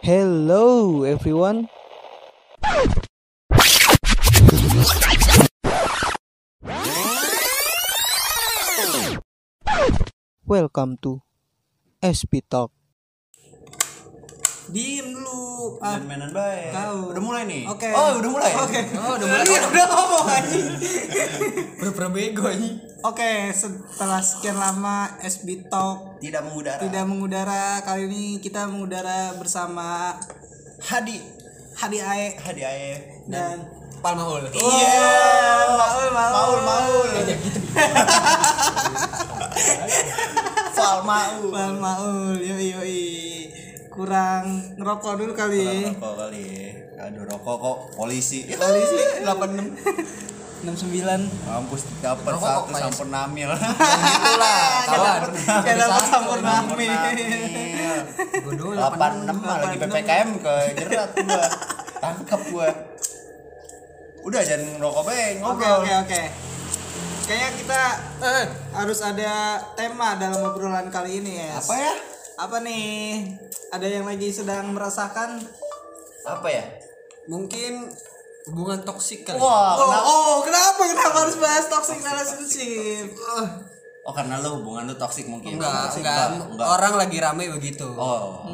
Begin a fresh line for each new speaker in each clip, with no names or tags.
Hello everyone. Welcome to SP Talk.
Diem dulu. Ah,
mainan baik.
Tahu.
Udah mulai nih.
Oke.
Oh, udah mulai.
Oke.
Oh, udah mulai.
Iya, udah ngomong anjing.
Pura-pura bego ini.
Oke, setelah sekian lama SB Talk
Tidak mengudara.
tidak mengudara, kali ini kita mengudara bersama
Hadi,
Hadi Ae
Hadi Aye
dan
Palmaul.
Iya,
Iya.
Maul Maul
Maul
Iya, gitu.
Maul. Palmaul.
Maul Maul. Yoi yoi. Kurang ngerokok dulu kali.
Rokok kali. Aduh rokok kok Iya. polisi.
Polisi.
86.
69.
Mampus dapat
Rokok
satu
kok banyak.
sampur namil.
itulah kawan
Ya dapat
Sampur
campur mami.
namil.
gue Iya. dulu
86 mah lagi PPKM ke jerat gua. Tangkap gua. Udah jangan ngerokok be,
Oke
ngobrol.
oke oke. Kayaknya kita eh, harus ada tema dalam obrolan kali ini ya.
Apa ya?
Apa nih? Ada yang lagi sedang merasakan?
Apa ya?
mungkin hubungan toksik kali ya.
Wah,
Oh,
kenapa?
oh, kenapa kenapa harus bahas toxic relationship? Eh,
Oh karena lo hubungan lo toksik mungkin.
enggak
Toxic,
enggak orang lagi rame begitu
Oh.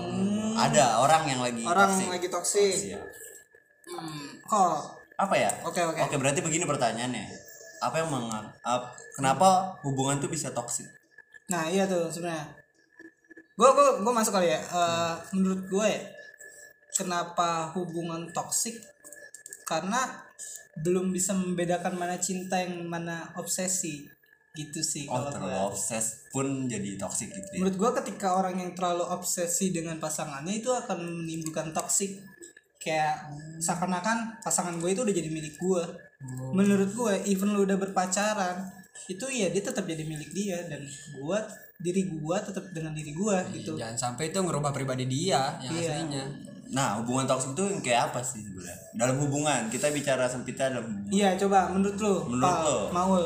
Ada orang yang lagi
Orang
toxic.
lagi toxic.
Iya.
Kok?
Apa ya?
Oke, oke.
Oke, berarti begini pertanyaannya. Apa yang mengap ap- kenapa hubungan tuh bisa toksik?
Nah iya tuh sebenarnya. Gue gue gue masuk kali ya. Eh, menurut gue kenapa hubungan toksik? Karena belum bisa membedakan mana cinta yang mana obsesi gitu sih
Oh,
kalau
terlalu
gue.
obses pun jadi toksik gitu. ya.
Menurut gue ketika orang yang terlalu obsesi dengan pasangannya itu akan menimbulkan toksik kayak seakan-akan pasangan gue itu udah jadi milik gue.
Oh.
Menurut gue even lu udah berpacaran itu ya dia tetap jadi milik dia dan gue diri gue tetap dengan diri gue
Iya.
gitu.
jangan sampai itu ngerubah pribadi dia yang
Iya.
aslinya
Nah, hubungan toksik itu yang kayak apa sih sebenarnya? Dalam hubungan, kita bicara sempitnya dalam hubungan.
Iya coba menurut lu
Menurut
Pal,
lu.
Maul.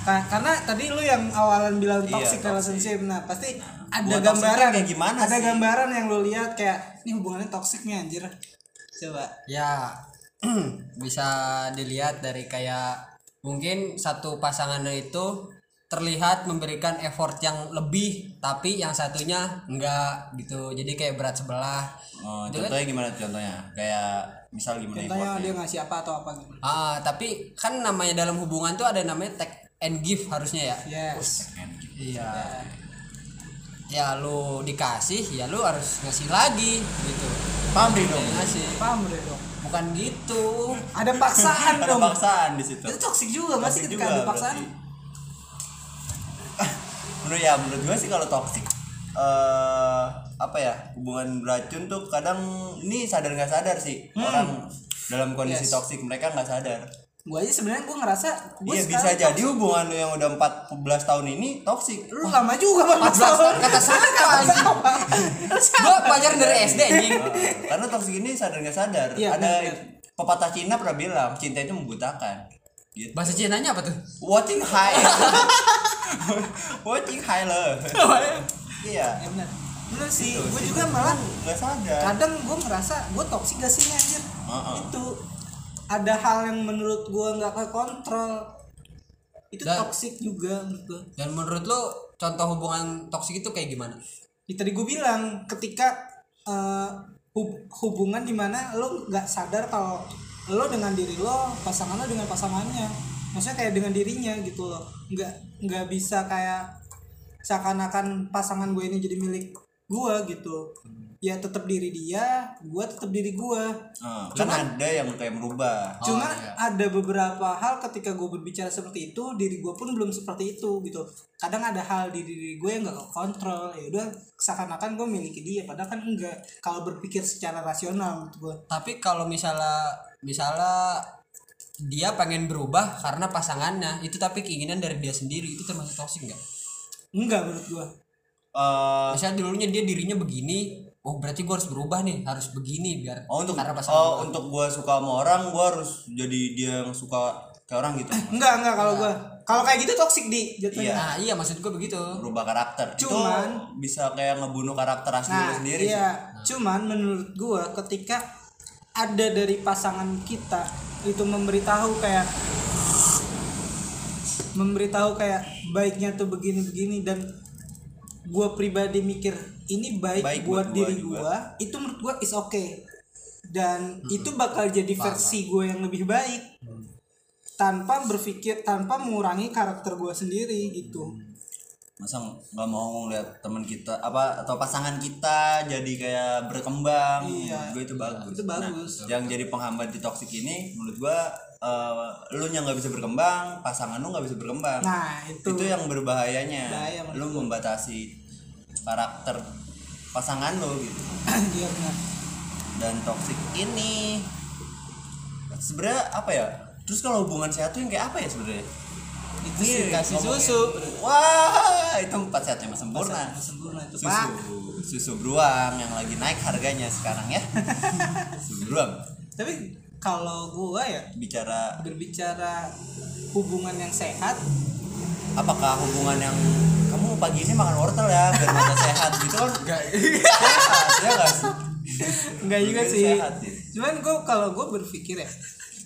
Ka- karena tadi lu yang awalan bilang
Iya,
toxic
toxic.
relationship nah pasti ada
hubungan toxic
gambaran
kayak gimana
ada
sih?
gambaran yang lu lihat kayak ini hubungannya toxic nih anjir. Coba.
ya bisa dilihat dari kayak mungkin satu pasangan itu terlihat memberikan effort yang lebih tapi yang satunya enggak gitu jadi kayak berat sebelah
Oh, contohnya gimana contohnya? Kayak misal gimana ya?
Contohnya
effortnya?
dia ngasih apa atau apa gitu.
ah tapi kan namanya dalam hubungan tuh ada namanya take and give harusnya ya
Yes.
Iya. Ya lu dikasih, ya lu harus ngasih lagi gitu.
Paham Ri, dong.
Ngasih.
Paham deh dong.
Bukan gitu.
Ada paksaan
Ada
dong.
paksaan di situ.
Itu toksik juga nggak sih
Toxic
ketika
juga
ada paksaan?
berarti. menurut ya menurut gue sih kalau toxic eh apa ya hubungan beracun tuh kadang ini sadar nggak sadar sih
Hmm.
orang dalam kondisi toksik mereka nggak sadar
Gue aja sebenarnya gue ngerasa gue
iya bisa jadi hubungan lu yang udah 14 tahun ini toksik
Lu lama juga bang.
14 tahun kata siapa anjing? Gua pacaran dari SD anjing.
Iya. karena toksik ini sadar nggak sadar ada
Iya, benar.
pepatah Cina pernah bilang cinta itu membutakan gitu
Bahasa Cinanya apa tuh?
watching high watching high loh
Oh,
iya
Ya benar. Benar sih.
Gitu
Gue
sih.
juga malah
nggak sadar
kadang gue ngerasa gue toksik gak sih ini, anjir
Heeh.
itu ada hal yang menurut gue nggak kekontrol itu
Dan-
toksik juga menurut gue
Dan menurut lu contoh hubungan toksik itu kayak gimana?
Ya, tadi gue bilang ketika eh, hub- hubungan dimana lo nggak sadar kalau lo dengan diri lo pasangan lo dengan pasangannya maksudnya kayak dengan dirinya gitu loh nggak nggak bisa kayak seakan-akan pasangan gue ini jadi milik gue gitu ya tetap diri dia gue tetap diri gue
Heeh, kan ada yang kayak merubah
cuma
iya.
ada beberapa hal ketika gue berbicara seperti itu diri gue pun belum seperti itu gitu kadang ada hal di diri gue yang gak kontrol ya udah seakan-akan gue miliki dia padahal kan enggak kalau berpikir secara rasional menurut gue
Tapi kalau misalnya misalnya dia pengen berubah karena pasangannya itu tapi keinginan dari dia sendiri itu termasuk toksik enggak?
enggak menurut gue
Eh,
misalnya dulunya dia dirinya begini oh berarti gue harus berubah nih harus begini biar
oh untuk
karena pasangan
oh
gua.
untuk gue suka sama orang gue harus jadi dia yang suka kayak orang gitu
enggak enggak kalau gua kalau kayak gitu toksik di
iya
jatuhnya
Nah, iya maksud gue begitu.
berubah karakter
Cuman-
itu bisa kayak ngebunuh karakter asli
nah
lu sendiri sih.
iya cuman menurut gua ketika ada dari pasangan kita itu memberitahu kayak memberitahu kayak baiknya tuh begini begini dan gua pribadi mikir ini baik,
Baik buat
buat,
gua
diri
juga.
gua itu menurut gua is okay dan itu bakal jadi versi gua yang lebih baik
Mm.
tanpa berpikir tanpa mengurangi karakter gua sendiri gitu
masa nggak mau ngeliat teman kita apa atau pasangan kita jadi kayak berkembang
Iya.
gue itu bagus Nah,
Itu bagus.
yang jadi penghambat di toxic ini menurut gue lu yang nggak bisa berkembang pasangan lu nggak bisa berkembang
nah itu,
itu yang berbahayanya
Bahaya menurut
lu membatasi karakter pasangan lu gitu
Iya, benar.
dan toxic ini sebenarnya apa ya terus kalau hubungan sehat tuh yang kayak apa ya sebenarnya
Itu sih kasih
ngomongin.
susu.
wah itu empat sehatnya mas sempurna
sempurna itu
susu
pak
susu beruang yang lagi naik harganya sekarang ya susu beruang
tapi kalau gua ya
bicara
berbicara hubungan yang sehat
apakah hubungan yang kamu pagi ini makan wortel ya biar mata sehat gitu kan
Enggak.
sehat ya nggak sih
enggak juga
Hubungan
sih
sehat, ya.
cuman gua kalau gua berpikir ya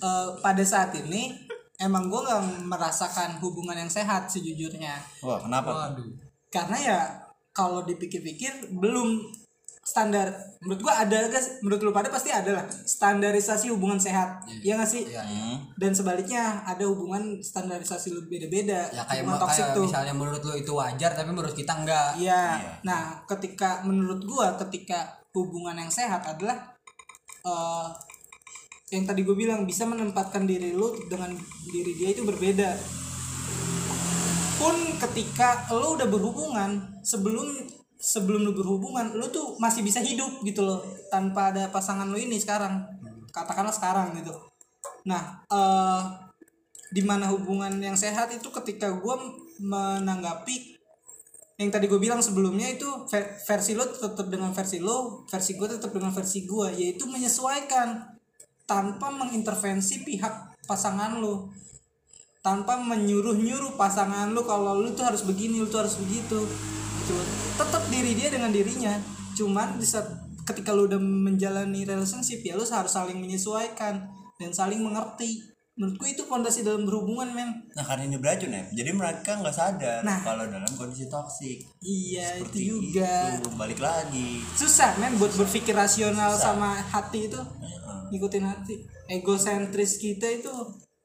eh, pada saat ini emang gua nggak merasakan hubungan yang sehat sejujurnya
wah kenapa
Waduh.
karena ya kalau dipikir-pikir belum standar menurut gua ada guys menurut lu pada pasti ada lah standarisasi hubungan sehat ya nggak sih
Iya, iya.
Hmm.
dan sebaliknya ada hubungan standarisasi lu beda-beda
Ya kayak,
hubungan
ma-
toksik
kayak
tuh
misalnya menurut lo itu wajar tapi menurut kita enggak.
Iya.
Iya.
Nah, ketika menurut gua ketika hubungan yang sehat adalah eh yang tadi gue bilang bisa menempatkan diri lu dengan diri dia itu berbeda. Pun ketika lu udah berhubungan sebelum sebelum lu berhubungan lu tuh masih bisa hidup gitu loh tanpa ada pasangan lu ini sekarang. Katakanlah sekarang gitu. Nah, eh di mana hubungan yang sehat itu ketika gua menanggapi yang tadi gue bilang sebelumnya itu ver- versi lo tetap dengan versi lo versi gue tetap dengan versi gue yaitu menyesuaikan tanpa mengintervensi pihak pasangan lo tanpa menyuruh nyuruh pasangan lo kalau lo tuh harus begini lo tuh harus begitu gitu. tetap diri dia dengan dirinya cuman di saat- ketika lo udah menjalani relationship ya lo harus saling menyesuaikan dan saling mengerti menurut gue itu fondasi dalam berhubungan men
nah karena ini beracun ya jadi mereka nggak sadar
Nah.
kalau dalam kondisi toksik
iya
seperti
itu juga
itu. balik lagi
susah men buat berpikir rasional sama hati itu ngikutin hati egosentris kita itu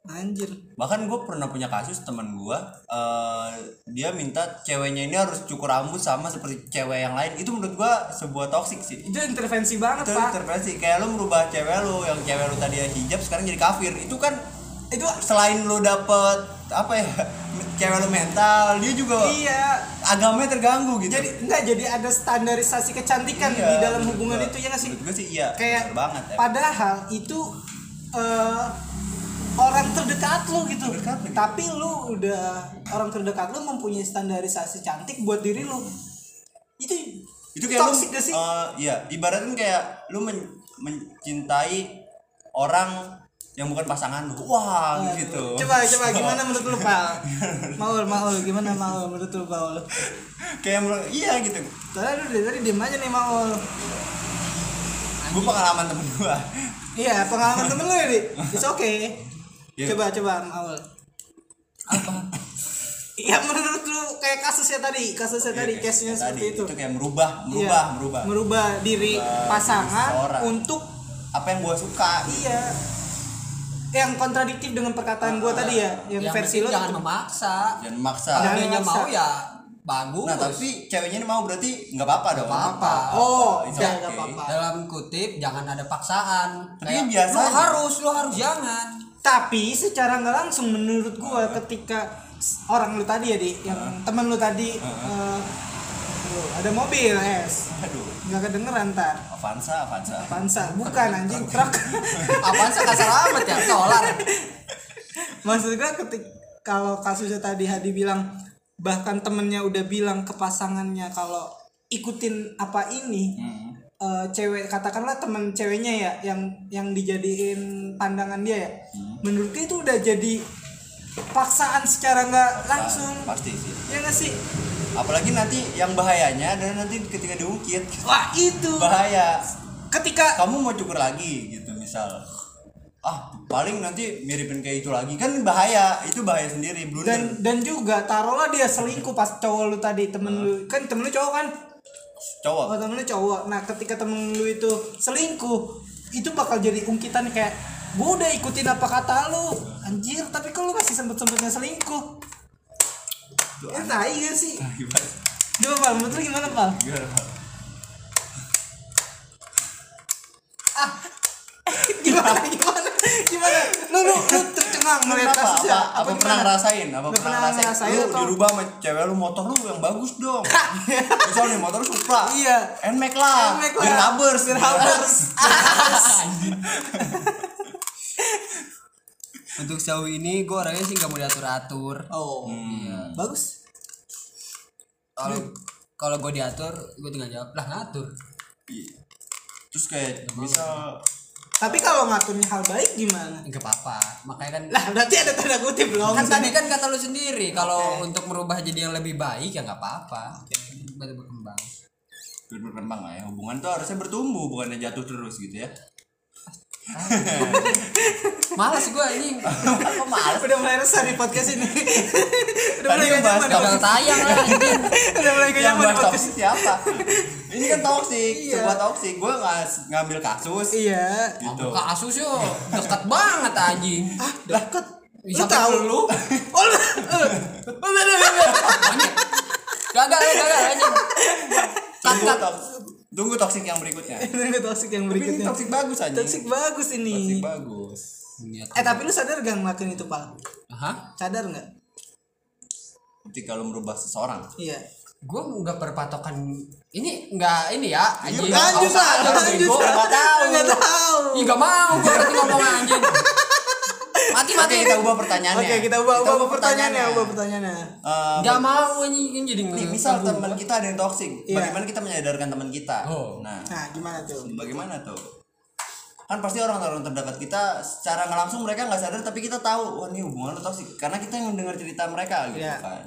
anjir
bahkan gue pernah punya kasus teman gue eh dia minta ceweknya ini harus cukur rambut sama seperti cewek yang lain itu menurut gue sebuah toksik sih
itu intervensi banget
itu
pak
intervensi kayak lu merubah cewek lu yang cewek lu tadi hijab sekarang jadi kafir itu kan
itu
selain lu dapet apa ya cewek lu mental dia juga
iya
agamanya terganggu gitu
jadi enggak jadi ada standarisasi kecantikan
Iya,
di dalam
menurut
hubungan
gua.
itu ya nggak sih
menurut gue sih iya
kayak
bener banget ya.
padahal itu eh, orang terdekat lu gitu
Terdekat lu gitu.
tapi lu udah orang terdekat lu mempunyai standarisasi cantik buat diri lu itu
itu kayak lu,
toxic gak sih
eh, iya ibaratnya kayak lu men- mencintai orang yang bukan pasangan lu wah gitu
Coba coba gimana menurut lu, Pak? Maul, Maul, gimana Maul menurut lu, Maul?
kayak menurut- iya gitu
Soalnya lu dari tadi diem aja nih, Maul.
gue pengalaman temen gue
Iya, pengalaman temen lu ya, Di. It's okay.
Iya.
Coba coba Maul. Apa? Iya menurut lu kayak kasusnya tadi, kasusnya tadi, case-nya seperti itu.
Iya, itu kayak merubah merubah
Iya,
merubah
Merubah diri
Merubah
pasangan
seseorang.
untuk
apa yang gue suka gitu.
iya yang kontradiktif dengan perkataan gua tadi ya, yang, versi
penting
lu
jangan
tetep-
memaksa.
dan maksa
Jangan
Kalau dia
memaksa.
mau ya bagus.
nah tapi ceweknya ini mau berarti nggak apa-apa dong
apa-apa.
Oh,
It's
udah
okay.
enggak apa-apa.
Dalam kutip jangan ada paksaan.
Tapi kan biasa
Lu
aja."
harus, lu harus jangan.
tapi secara nggak langsung menurut gua ketika s- orang lu tadi ya di yang teman lu tadi eh, lu, ada mobil es
aduh
nggak kedengeran tar
Avanza Avanza
pansa bukan anjing truk
Apaan sih kasar amat ya? Solar.
maksud gua ketika kalau kasusnya tadi Hadi bilang bahkan temennya udah bilang ke pasangannya kalau ikutin apa ini eh, cewek katakanlah temen ceweknya ya yang yang dijadiin pandangan dia ya menurut gue itu udah jadi paksaan secara nggak langsung
pasti sih
ya nggak sih
apalagi nanti yang bahayanya adalah nanti ketika diungkit
wah itu
bahaya
ketika
kamu mau cukur lagi gitu misal ah paling nanti miripin kayak itu lagi kan bahaya itu bahaya sendiri blunder
dan dan juga taruhlah dia selingkuh pas cowok lu tadi temen lu kan temen lu cowok kan oh
cowok
temen lu cowok nah ketika temen lu itu selingkuh itu bakal jadi ungkitan kayak gue udah ikutin apa kata lu anjir tapi kok lu masih sempet sempetnya selingkuh ya tai gak sih
Gimana?
coba pal menurut lu gimana pal
Gimana, Pak?
Ah, gimana gimana gimana lu lu lu tercengang
Lu
melihat
kenapa?
kasusnya
apa, apa pernah
ya? gimana?
ngerasain apa
Lu
pernah
pernah
ngerasain,
ngerasain
lu
atau-
dirubah sama cewek lu motor lu yang bagus dong misal nih motor Supra
Iya.
NMAX lah
NMAX lah.
Biar nabers
Biar nabers.
Untuk sejauh ini gue orangnya sih nggak mau diatur-atur. Hmm,
oh
Iya.
bagus
Kalau kalau gue diatur, gue tinggal jawab lah ngatur.
terus kayak misal
tapi kalau ngaturnya hal baik gimana
Gak apa-apa. Makanya kan
lah berarti ada tanda kutip dong
kan tadi kan kata lu sendiri kalau untuk merubah jadi yang lebih baik ya nggak apa-apa. Baru berkembang.
biar berkembang lah ya hubungan tuh harusnya bertumbuh bukannya jatuh terus gitu ya
Malas gue ini
apa malas
udah mulai resah di podcast ini udah
Tadi
mulai
yang
gak
bahas
nyaman di
gagal
podcast.
tayang lah. anjing.
udah mulai gak
yang
nyaman di
bahas
podcast
toksik siapa Iya, ini kan toksik sebuah toksik gue ngas ngambil kasus
iya
gitu
Kak Asus yo dekat banget anjing.
deket lu
Sampai
tahu lu oh lu eh. Bener, bener, bener.
Gagal ya gagal anjing.
tunggu toks- tunggu toksik yang berikutnya
ini toksik yang
tapi ini
berikutnya
toksik bagus aja
toksik bagus
toksik
ini
bagus
Niat.
eh tapi lu sadar gak ngelakuin itu pal
Hah?
sadar nggak
ketika lo merubah seseorang
iya
gue nggak berpatokan ini nggak ini ya anjing
lanjut
Nggak usah,
lah
nggak
lanjut
bego, nggak tahu
nggak tahu
Ih, nggak mau gue nanti ngomong anjing mati mati
Oke kita ubah pertanyaannya
oke kita ubah ubah pertanyaannya ubah pertanyaannya
Eh,
nggak mau anjing jadi nggak
nih, misal teman kita ada yang toksik
Iya.
bagaimana kita menyadarkan teman kita
Oh.
nah
nah gimana tuh
bagaimana tuh kan pasti orang-orang terdekat kita secara nggak langsung mereka nggak sadar tapi kita tahu wah ini hubungan lo toksik karena kita yang dengar cerita mereka gitu
Iya.
kan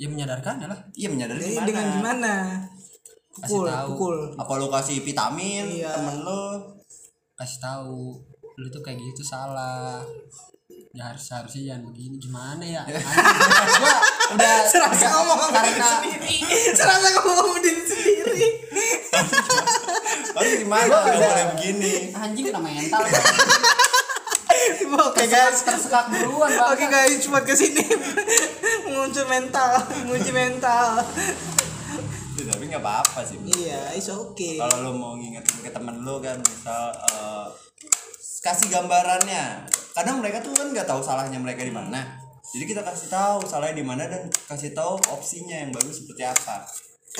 ya menyadarkan ya lah
iya menyadari
Jadi
gimana?
dengan gimana pukul
tahu.
pukul
apa lo kasih vitamin
Iya.
temen lo
kasih tahu lu tuh kayak gitu salah ya harus harusnya jangan begini gimana ya
Eh,
gue udah
serasa
udah-
ngomong sama diri
karena
sendiri serasa ngomong sama diri sendiri
harus gimana nggak boleh begini
anjing kena mental
oke guys
tersekak duluan bang
oke guys cuma kesini muncul mental muncul mental
Ya, tapi nggak apa-apa sih bro.
iya it's okay
kalau lo mau ngingetin ke temen lo kan misal eh, kasih gambarannya kadang mereka tuh kan nggak tahu salahnya mereka di mana jadi kita kasih tahu salahnya di mana dan kasih tahu opsinya yang bagus seperti apa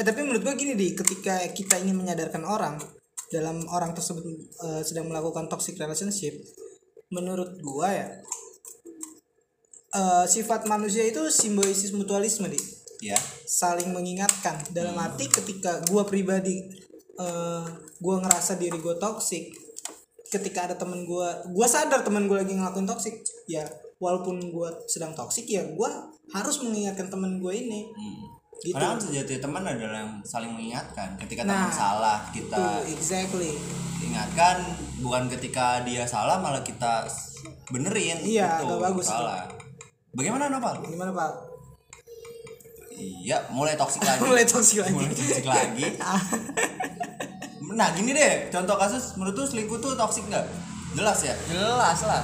Eh tapi menurut gua gini di ketika kita ingin menyadarkan orang dalam orang tersebut eh, sedang melakukan toxic relationship, menurut gua ya eh, sifat manusia itu simbiosis mutualisme di
ya
saling mengingatkan dalam arti ketika gua pribadi eh, gua ngerasa diri gua toxic ketika ada temen gua gua sadar temen gua lagi ngelakuin toxic ya walaupun gua sedang toxic ya gua harus mengingatkan temen gua ini gitu
Padahal kan sejati teman adalah yang saling mengingatkan ketika teman
Nah,
salah kita
Tuh, exactly
ingatkan bukan ketika dia salah malah kita benerin
Iya,
gitu,
agak bagus itu.
salah. Bagaimana Nopal?
gimana pak
Iya, mulai toksik lagi.
mulai toksik lagi
Mulai toksik lagi. Nah, gini deh, contoh kasus menurut tuh selingkuh tuh toksik nggak? Jelas ya?
jelas lah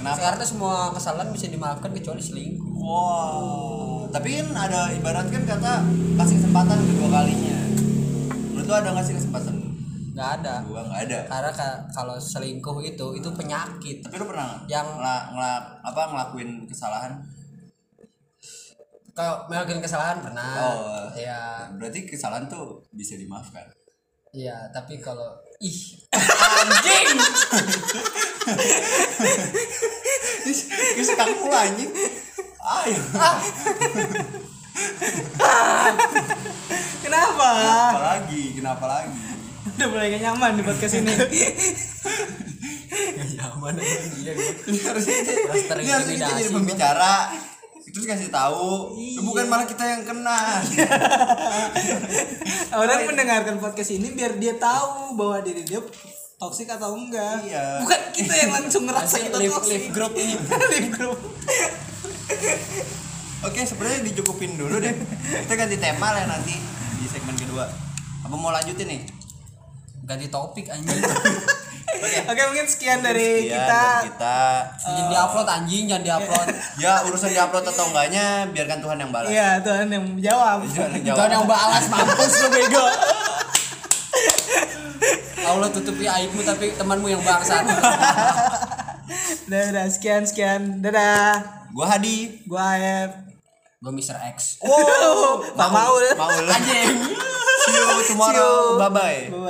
Kenapa?
sekarang tuh semua kesalahan bisa dimaafkan kecuali selingkuh
Wow. Tapi kan ada ibarat kan kata kasih kesempatan kedua kalinya. Menurut tuh ada nggak sih kesempatan?
nggak ada
Gua nggak ada.
karena ka- kalau selingkuh itu itu penyakit
Tapi lu pernah nggak
Yang-
ngela- ngela- apa ngelakuin kesalahan?
kalau melakukan kesalahan pernah
Oh.
ya
Berarti kesalahan tuh bisa dimaafkan.
ya tapi kalau ih anjing
Bisa kamu anjing. Ayo.
Kenapa?
Kenapa lagi? Kenapa lagi?
Udah mulai gak nyaman di podcast ini.
aman aman iya
ini harusnya ini harusnya Iya,
Terus
kita
terintimidasi,
jadi
Bang.
pembicara terus kasih tahu "Ya, bukan malah kita yang kena
orang mendengarkan podcast ini biar dia tahu bahwa diri dia toksik atau enggak
Iya.
bukan kita yang langsung ngerasa
Masih
kita
live-
toksik
live group ini.
Live group.
oke sebenarnya dicukupin dulu deh kita ganti tema lah nanti di segmen kedua apa mau lanjutin nih
ganti topik anjing
oke mungkin sekian dari
Sekian
kita
dari kita
jangan diupload anjing jangan diupload
ya urusan diupload atau enggaknya biarkan Tuhan yang balas
iya Tuhan yang menjawab
Tuhan yang
Jangan yang
jawab
balas mampus lu bego. Allah tutupi aibmu tapi temanmu yang bangsat.
udah udah sekian sekian dadah
gua Hadi
gua Aep
Gue Mr. X.
wow Pak Maul
Maul
Anjing.
see you tomorrow
See you.
bye bye